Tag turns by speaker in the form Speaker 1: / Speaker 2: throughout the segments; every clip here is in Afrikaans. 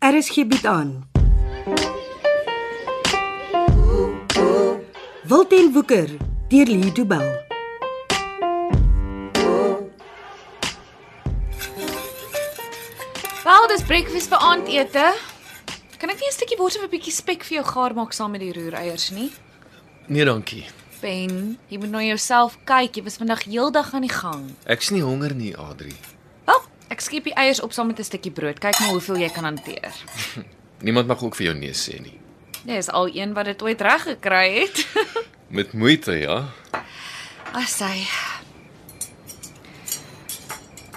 Speaker 1: Aris gee bied Er aan. Wilten Woeker deur Lee Du Bell.
Speaker 2: Wel, dis breakfast vir aandete. Kan ek nie 'n stukkie wortel met 'n bietjie spek vir jou gaar maak saam met die roereiers nie?
Speaker 3: Nee, dankie.
Speaker 2: Ben, jy moet na jouself kyk. Jy was vandag heeldag aan die gang.
Speaker 3: Ek's nie honger nie, Adri.
Speaker 2: Wel, ek skiep die eiers op saam met 'n stukkie brood. Kyk maar hoeveel jy kan hanteer.
Speaker 3: Niemand mag ook vir jou nee sê nie.
Speaker 2: Jy is al een wat dit ooit reg gekry het.
Speaker 3: Met moeite, ja.
Speaker 2: As hy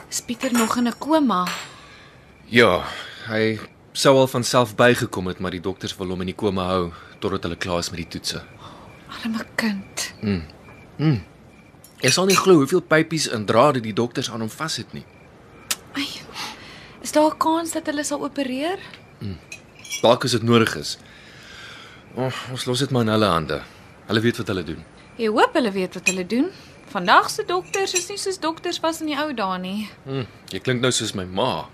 Speaker 2: Is Pieter nog in 'n koma?
Speaker 3: Ja, hy sou al van self bygekom het, maar die dokters wil hom in die koma hou totdat hulle klaar is met die toetse.
Speaker 2: Arme kind.
Speaker 3: Jy sal nie glo hoeveel pypies en drade die dokters aan hom vassit nie.
Speaker 2: Ai. Is daar 'n kans dat hulle sal opereer?
Speaker 3: Dalk as dit nodig is. Oh, ons los dit maar in hulle hande. Hulle weet wat hulle doen.
Speaker 2: Jy hoop hulle weet wat hulle doen. Vandag se dokters is nie soos dokters was in die ou dae nie.
Speaker 3: Hm, jy klink nou soos my ma.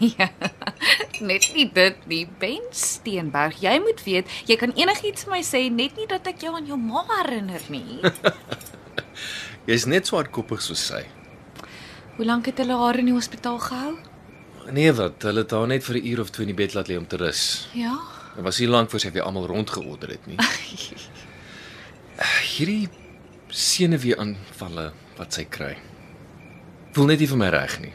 Speaker 2: Ja. Net nie dit nie, Ben Steenberg. Jy moet weet, jy kan enigiets vir my sê, net nie dat ek jou aan jou ma herinner nie.
Speaker 3: Jy's net so hardkoppig soos sy.
Speaker 2: Hoe lank het hulle haar in die hospitaal gehou?
Speaker 3: Nee, wat? Hulle het haar net vir 'n uur of twee in die bed laat lê om te rus.
Speaker 2: Ja.
Speaker 3: Dit was nie lank voor sy weer almal rondgeorder het nie. Hierdie senuwee aanvalle wat sy kry. Voel net nie vir my reg nie.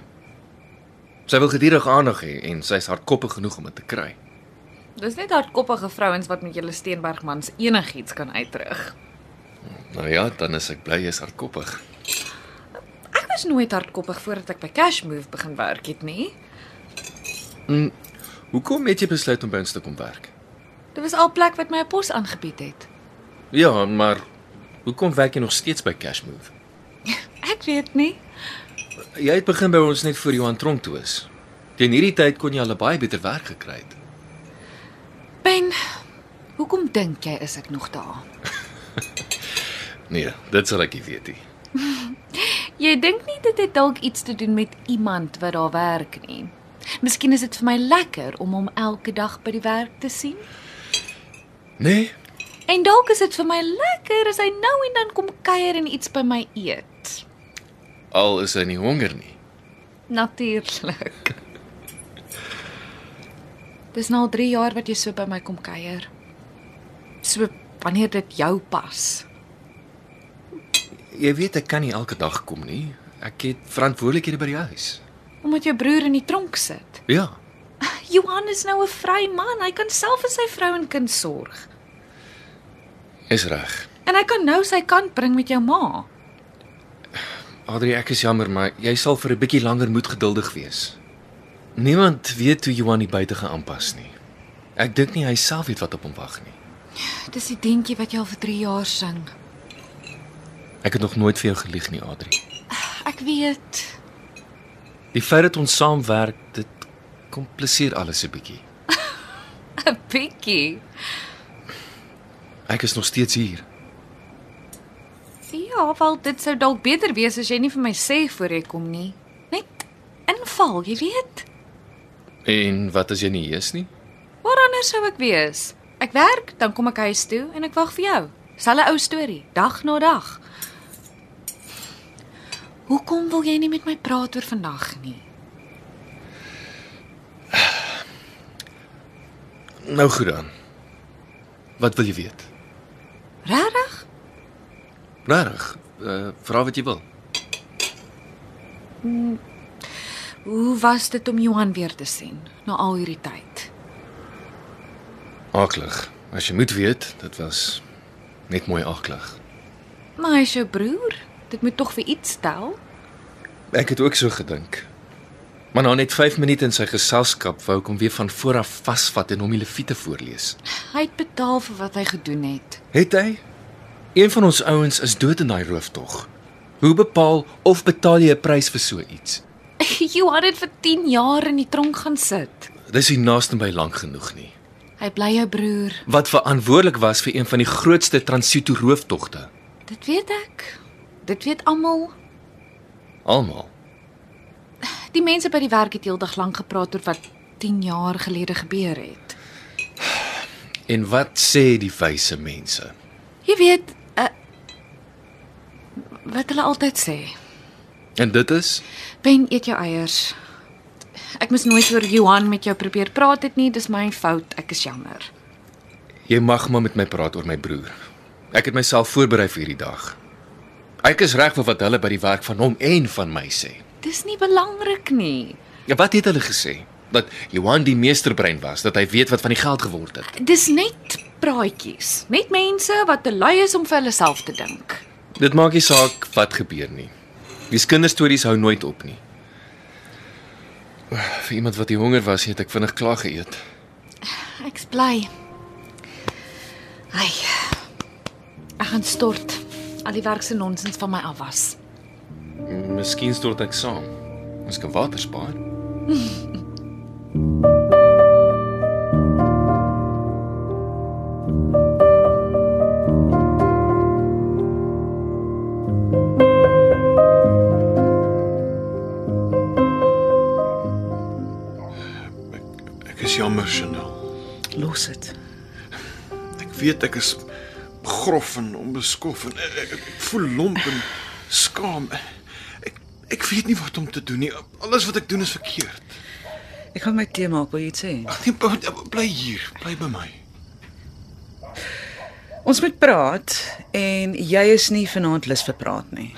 Speaker 3: Sy wil gedurig aandag hê en sy's hardkoppig genoeg om dit te kry.
Speaker 2: Dis net hardkoppige vrouens wat met julle Steenbergmans enigiets kan uitrig.
Speaker 3: Nou ja, dan is ek bly jy's hardkoppig.
Speaker 2: Ek was nooit hardkoppig voordat ek by Cash Move begin werk het nie.
Speaker 3: Hoekom het jy besluit om by ons te kom werk?
Speaker 2: Dit was al plek wat my 'n pos aangebied het.
Speaker 3: Ja, maar hoekom werk jy nog steeds by Cashmove?
Speaker 2: Ek weet nie.
Speaker 3: Jy het begin by ons net voor Johan Tronk toe is. Teen hierdie tyd kon jy al 'n baie beter werk gekry het.
Speaker 2: Ben, hoekom dink jy is ek nog daar?
Speaker 3: Nee, dit sal ek nie weet nie.
Speaker 2: Jy dink nie dit het dalk iets te doen met iemand wat daar werk nie. Miskien is dit vir my lekker om hom elke dag by die werk te sien.
Speaker 3: Nee,
Speaker 2: En dalk is dit vir my lekker as hy nou en dan kom kuier en iets by my eet.
Speaker 3: al is hy nie honger nie.
Speaker 2: Natuurlik. Dis nou al 3 jaar wat jy so by my kom kuier. So wanneer dit jou pas.
Speaker 3: Jy weet ek kan nie elke dag kom nie. Ek het verantwoordelikhede by die huis.
Speaker 2: Omdat jou broer in die tronk sit.
Speaker 3: Ja.
Speaker 2: Johan is nou 'n vry man. Hy kan self vir sy vrou en kind sorg.
Speaker 3: Is reg.
Speaker 2: En hy kan nou sy kant bring met jou ma.
Speaker 3: Adrie, ek is jammer, maar jy sal vir 'n bietjie langer moet geduldig wees. Niemand weet hoe Johan die buite gaan aanpas nie. Ek dink nie hy self weet wat op hom wag nie.
Speaker 2: Dis die dentjie wat jy al vir 3 jaar sing.
Speaker 3: Ek het nog nooit vir jou gelieg nie, Adrie.
Speaker 2: Ek weet.
Speaker 3: Die feit dat ons saamwerk, dit kompliseer alles 'n bietjie.
Speaker 2: 'n Bietjie.
Speaker 3: Ek is nog steeds hier.
Speaker 2: Ja, wel dit sou dalk beter wees as jy nie vir my sê voor jy kom nie. Net inval, jy weet.
Speaker 3: En wat as jy nie hier is nie?
Speaker 2: Waar anders sou ek wees? Ek werk, dan kom ek huis toe en ek wag vir jou. Selfe ou storie, dag na dag. Hoekom wil jy nie met my praat oor vandag nie?
Speaker 3: Nou goed dan. Wat wil jy weet?
Speaker 2: Regtig?
Speaker 3: Regtig? Uh, vra wat jy wil.
Speaker 2: Hoe was dit om Johan weer te sien na al hierdie tyd?
Speaker 3: Aklig. As jy moet weet, dit was net mooi aklig.
Speaker 2: Maar hy's jou broer. Dit moet tog vir iets stel.
Speaker 3: Ek het ook so gedink. Maar na net 5 minute in sy geselskap wou ek hom weer van voor af vasvat en hom die leviete voorlees.
Speaker 2: Hy het betaal vir wat hy gedoen het.
Speaker 3: Het hy? Een van ons ouens is dood in daai rooftog. Hoe bepaal of betaal jy 'n prys vir so iets?
Speaker 2: Johan het vir 10 jaar in die tronk gaan sit.
Speaker 3: Dis nie naaste by lank genoeg nie.
Speaker 2: Hy bly jou broer.
Speaker 3: Wat verantwoordelik was vir een van die grootste Transito rooftogte.
Speaker 2: Dit weet ek. Dit weet almal.
Speaker 3: Almal.
Speaker 2: Die mense by die werk het heeldag lank gepraat oor wat 10 jaar gelede gebeur het.
Speaker 3: En wat sê die wyse mense?
Speaker 2: Jy weet, uh, wat hulle altyd sê,
Speaker 3: En dit is
Speaker 2: Ben eet jou eiers. Ek moes nooit oor Johan met jou probeer praat het nie, dis my fout, ek is jammer.
Speaker 3: jy mag maar met my praat oor my broer. Ek het myself voorberei vir hierdie dag. Ek is reg vir wat hulle by die werk van hom en van my sê.
Speaker 2: Dis nie belangrik nie.
Speaker 3: Ja, wat het hulle gesê? Dat Johan die meesterbrein was, dat hy weet wat van die geld geword het.
Speaker 2: Dis net praatjies, net mense wat te lui is om vir hulle self te dink.
Speaker 3: Dit maak nie saak wat gebeur nie. Die kinderstories hou nooit op nie. Vir iemand wat die honger was, het ek vinnig klaar geëet.
Speaker 2: Ek's bly. Ai. Ek gaan stort al die werk se nonsens van my af was.
Speaker 3: Miskien stort ek saam. Ons kan water spaar.
Speaker 4: Ek is jammer, Chanel.
Speaker 5: Los dit.
Speaker 4: Ek weet ek is grof en onbeskof en ek, ek, ek voel lomp en skaam. Ek ek weet nie wat om te doen nie. Alles wat ek doen is verkeerd.
Speaker 5: Ek gaan my tee maak, wil jy iets hê?
Speaker 4: Ag nee, bou- bly hier, bly by my.
Speaker 5: Ons moet praat en jy is nie vanaand lus vir praat nie.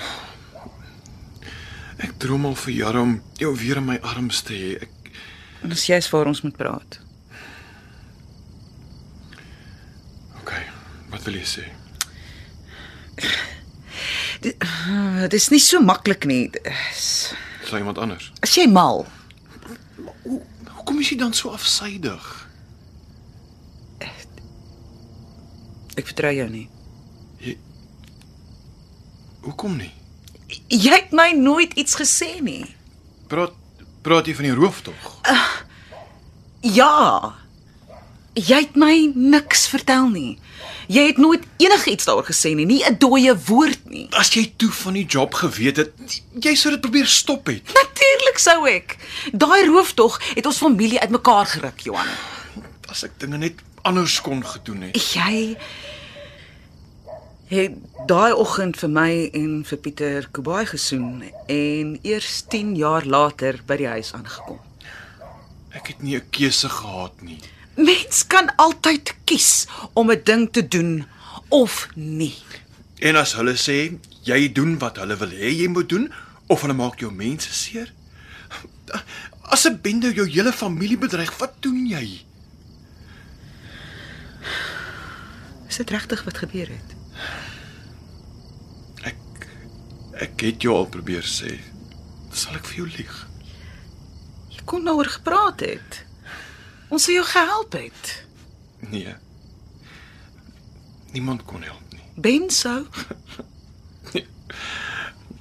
Speaker 4: Ek droom al vir jare om jou weer in my arms te hê. Ek
Speaker 5: En dis jy's waar ons moet praat.
Speaker 4: okay, wat wil jy sê?
Speaker 5: Dit is nie so maklik nie. Dis-
Speaker 4: Sou iemand anders?
Speaker 5: As jy mal,
Speaker 4: Hoe hoekom is jy dan so afsydig?
Speaker 5: ek vertrou jou nie.
Speaker 4: Hoekom nie?
Speaker 5: Jy het my nooit iets gesê nie.
Speaker 4: Praat praat jy van die rooftog?
Speaker 5: Ja. Jy het my niks vertel nie. Jy het nooit enigiets daaroor gesê nie, nie 'n dooie woord nie.
Speaker 4: As jy toe van die job geweet het, jy sou dit probeer stop het.
Speaker 5: Natuurlik sou ek. Daai rooftog het ons familie uitmekaar geruk, Johan.
Speaker 4: As ek dinge net anders kon gedoen het.
Speaker 5: Jy het daai oggend vir my en vir Pieter Kubai gesoen en eers 10 jaar later by die huis aangekom.
Speaker 4: Ek het nie 'n keuse gehad nie.
Speaker 5: Mens kan altyd kies om 'n ding te doen of nie.
Speaker 4: En as hulle sê jy doen wat hulle wil hê jy moet doen of hulle maak jou mense seer, as 'n bende jou hele familie bedreig, wat doen jy?
Speaker 5: Is dit regtig wat gebeur het?
Speaker 4: Ek ek het jou al probeer sê. Sal ek vir jou lieg?
Speaker 5: Jy kon daaroor gepraat het. Ons sou jou gehelp het.
Speaker 4: Nee. Niemand kon help nie.
Speaker 5: Ben sou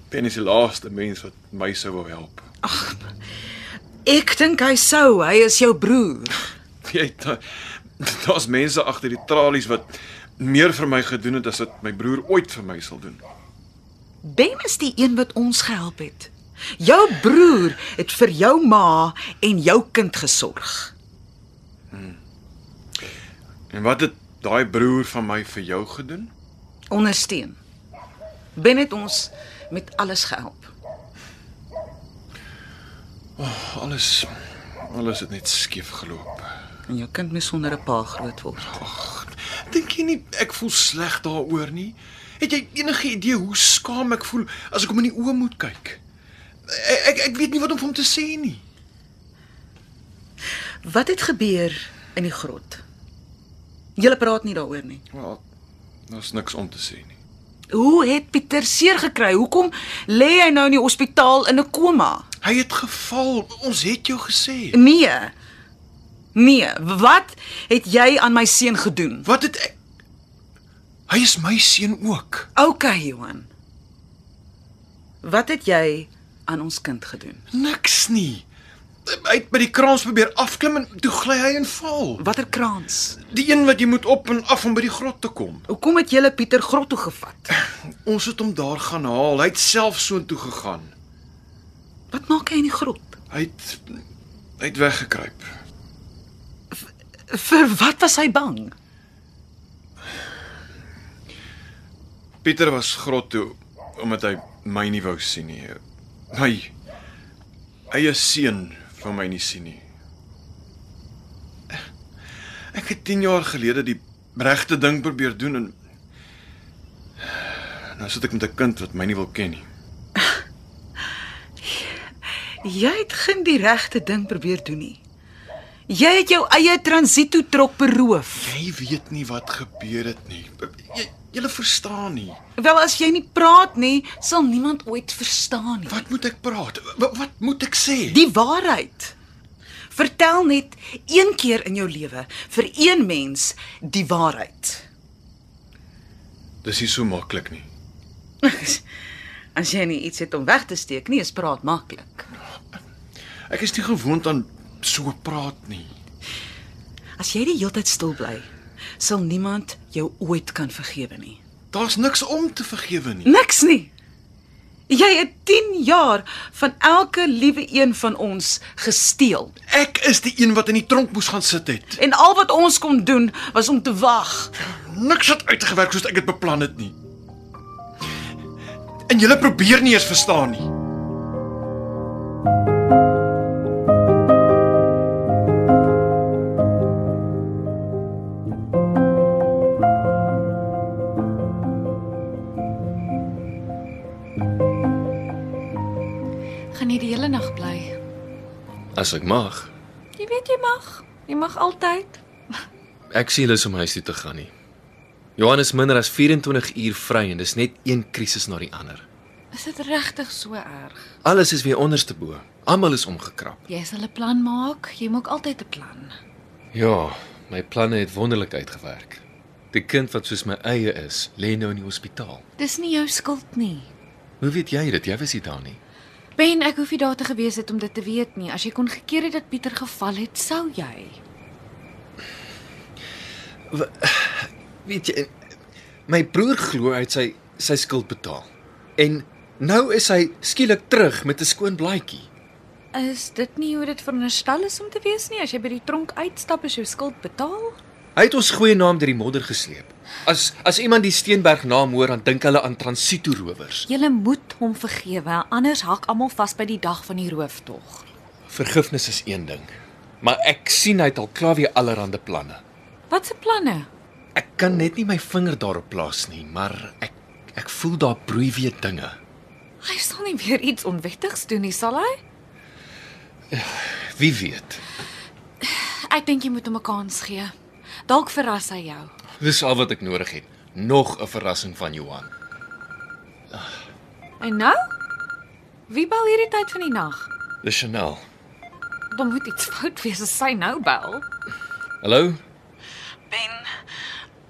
Speaker 4: Ben is die laaste mens wat my sou wou help.
Speaker 5: Ek dink hy sou, hy is jou broer.
Speaker 4: Jy da- daar's mense agter die tralies wat meer vir my gedoen het as wat my broer ooit vir my sal doen.
Speaker 5: Ben is die een wat ons gehelp het. Jou broer het vir jou ma en jou kind gesorg.
Speaker 4: En wat het daai broer van my vir jou gedoen?
Speaker 5: Ondersteun. Ben het ons met alles gehelp.
Speaker 4: Alles alles het net skeef geloop.
Speaker 5: En jou kind moes sonder 'n pa groot word.
Speaker 4: Dink jy nie ek voel sleg daaroor nie? Het jy enige idee hoe skaam ek voel as ek hom in die oë moet kyk? Ek ek, ek weet nie wat om vir hom te sê nie.
Speaker 5: Wat het gebeur in die grot? Julle praat nie daaroor nie.
Speaker 4: Wel, daar's niks om te sê nie.
Speaker 5: Hoe het Pieter seer gekry? Hoekom lê hy nou in die hospitaal in 'n koma?
Speaker 4: Hy het geval. Ons het jou gesê.
Speaker 5: Nee. Nee, wat het jy aan my seun gedoen?
Speaker 4: Wat het ek Hy is my seun ook.
Speaker 5: OK, Johan. Wat het jy aan ons kind gedoen?
Speaker 4: Niks nie. Hy het by die kraans probeer afklim en toe gly hy en val.
Speaker 5: Watter kraans?
Speaker 4: Die een wat jy moet op en af om by die grot te kom.
Speaker 5: Hoekom het julle Pieter grot toe gevat?
Speaker 4: Ons het hom daar gaan haal. Hy het self soontoe gegaan.
Speaker 5: Wat maak hy in die grot?
Speaker 4: Hy het hy het weggekruip.
Speaker 5: Vir wat was hy bang?
Speaker 4: Pieter was grot toe omdat hy my nie wou sien nie. Hy eie seun van my nie sien nie. Ek het 10 jaar gelede die regte ding probeer doen en nou sit ek met 'n kind wat my nie wil ken nie.
Speaker 5: Jy het geen die regte ding probeer doen nie. Jy het jou eie transito trok beroof.
Speaker 4: Jy weet nie wat gebeur het nie. Jy julle verstaan nie.
Speaker 5: Wel as jy nie praat nie, sal niemand ooit verstaan nie.
Speaker 4: Wat moet ek praat? Wat, wat moet ek sê?
Speaker 5: Die waarheid. Vertel net een keer in jou lewe vir een mens die waarheid.
Speaker 4: Dis nie so maklik nie.
Speaker 5: As jy nie iets het om weg te steek nie, is praat maklik.
Speaker 4: Ek is nie gewoond aan so praat nie.
Speaker 5: As jy die heeltyd stil bly, sal niemand jou ooit kan vergewe nie.
Speaker 4: Daar's niks om te vergewe nie.
Speaker 5: Niks nie. Jy het 10 jaar van elke liewe een van ons gesteel.
Speaker 4: Ek is die een wat in die tronk moes gaan sit het.
Speaker 5: En al wat ons kon doen was om te wag.
Speaker 4: Niks het uitgewerk soos ek dit beplan het nie. En julle probeer nie eens verstaan nie.
Speaker 2: Gaan jy die hele nag bly?
Speaker 3: As ek mag,
Speaker 2: Jy weet jy mag. Jy mag altyd.
Speaker 3: ek sien hulle is om huis toe te gaan nie. Johan is minder as 24 uur vry en dis net een krisis na die ander.
Speaker 2: Is dit regtig so erg?
Speaker 3: Alles is weer onderste bo. Almal is omgekrap.
Speaker 2: Jy sal 'n plan maak. Jy maak altyd 'n plan.
Speaker 3: Ja, my planne het wonderlik uitgewerk. Die kind wat soos my eie is, lê nou in die hospitaal.
Speaker 2: Dis nie jou skuld nie.
Speaker 3: Hoe weet jy dit? Jy was nie daar nie.
Speaker 2: Ben, ek hoef nie daar te gewees het om dit te weet nie. As jy kon gekeer het dat Pieter geval het, sou jy.
Speaker 3: Weet jy, my broer glo hy het sy sy skuld betaal. En nou is hy skielik terug met 'n skoon blaadjie.
Speaker 2: Is dit nie hoe dit veronderstel is om te wees nie? As jy by die tronk uitstap, is jou skuld betaal?
Speaker 3: Hy het ons goeie naam deur die modder gesleep. As as iemand die Steenberg naam hoor, dan dink hulle aan transito rowers.
Speaker 2: Jy moet hom vergewe, anders hak almal vas by die dag van die rooftog.
Speaker 3: Vergifnis is een ding, maar ek sien hy het al klaar weer allerlei planne.
Speaker 2: Wat se planne?
Speaker 3: Ek kan net nie my vinger daarop plaas nie, maar ek ek voel daar broei weer dinge.
Speaker 2: Hy sal nie weer iets onwettigs doen nie, sal hy?
Speaker 3: Wie weet.
Speaker 2: Ek dink jy moet hom 'n kans gee. Dalk verras hy jou.
Speaker 3: Dis al wat ek nodig het. Nog 'n verrassing van Johan.
Speaker 2: En nou? Wie bel hierdie tyd van die nag?
Speaker 3: Dis Chanel.
Speaker 2: Daar moet iets fout wees as sy nou bel.
Speaker 3: Hallo?
Speaker 5: Ben,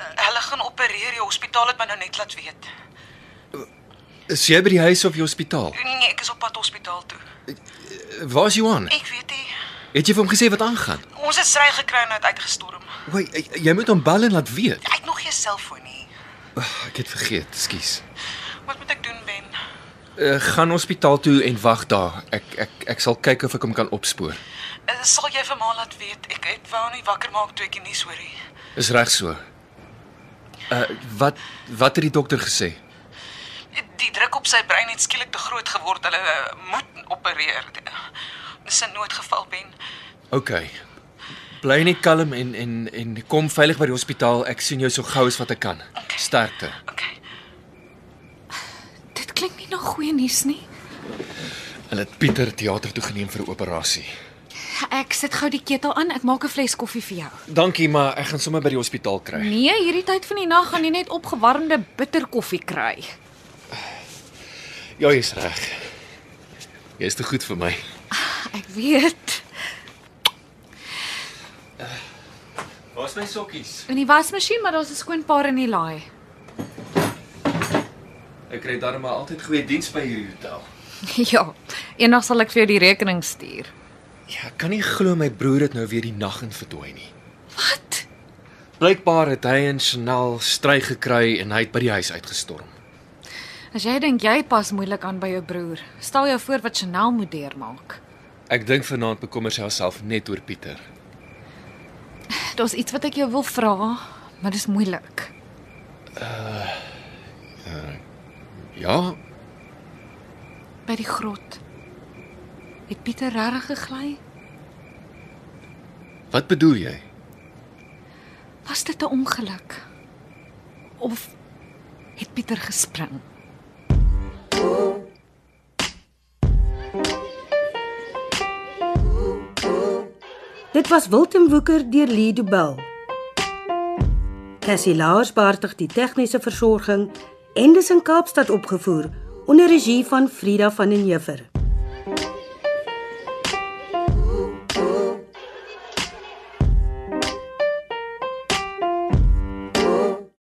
Speaker 5: hulle gaan opereer. Die hospitaal het my nou net laat weet.
Speaker 3: Is jy by die huis of die hospitaal?
Speaker 5: Nee, ek is op pad hospitaal toe.
Speaker 3: Waar's Johan?
Speaker 5: Ek weet nie.
Speaker 3: Het jy vir hom gesê wat aangaan?
Speaker 5: Ons het stry gekry en hy het uitgestorm.
Speaker 3: Wai, jy moet hom bel en laat weet.
Speaker 5: Hy het nog geen selfoon nie.
Speaker 3: Ek het vergeet, skus.
Speaker 5: Wat moet ek doen, Ben?
Speaker 3: Uh, gaan hospitaal toe en wag daar. Ek ek ek sal kyk of ek hom kan opspoor.
Speaker 5: Eh, Sal jy vir ma laat weet? Ek ek wou nie wakker maak toe ek die nuus hoor nie.
Speaker 3: Is reg so. Uh wat wat het die dokter gesê?
Speaker 5: Die druk op sy brein het skielik te groot geword. Hulle eh, moet opereer. Dis 'n noodgeval, Ben.
Speaker 3: OK. Bly net kalm en en en kom veilig by die hospitaal. Ek sien jou so gou as wat ek kan. Sterkte.
Speaker 5: Okay.
Speaker 2: Dit klink nie na goeie nuus nie.
Speaker 3: Hulle het Pieter teater toe geneem vir 'n operasie.
Speaker 2: Ja, Ek sit gou die ketel aan. Ek maak 'n fles koffie vir jou.
Speaker 3: Dankie, maar ek gaan sommer by die hospitaal kry.
Speaker 2: Nee, hierdie tyd van die nag gaan jy net opgewarmde bitterkoffie kry.
Speaker 3: Ja, jy's reg. Jy's te goed vir my.
Speaker 2: Ja, Ek weet.
Speaker 3: Waar's my sokkies?
Speaker 2: In die wasmasjien, maar daar's 'n skoon paar in die laai.
Speaker 3: Ek kry darm maar altyd goeie diens by hierdie hotel.
Speaker 2: Ja, eendag sal ek vir jou die rekening stuur.
Speaker 3: Ja, ek kan nie glo my broer het nou weer die nag in verdooi nie.
Speaker 2: Wat?
Speaker 3: Blykbaar het hy en Chanel stry gekry en hy het by die huis uitgestorm.
Speaker 2: As jy dink jy pas moeilik aan by jou broer, stel jou voor wat Chanel moet deurmaak.
Speaker 3: Ek dink vanaand bekommer sy haarself net oor Pieter.
Speaker 2: Daar's iets wat ek jou wil vra, maar dis moeilik.
Speaker 3: Ja,
Speaker 2: By die grot. Het Pieter regtig gegly?
Speaker 3: wat bedoel jy?
Speaker 2: Was dit 'n ongeluk? Of het Pieter gespring?
Speaker 1: Dit was Wilten Woeker deur Lido Bell. Cassie Lars beheer die tegniese versorging en dis in Kaapstad opgevoer onder regie van Frida van den Heever.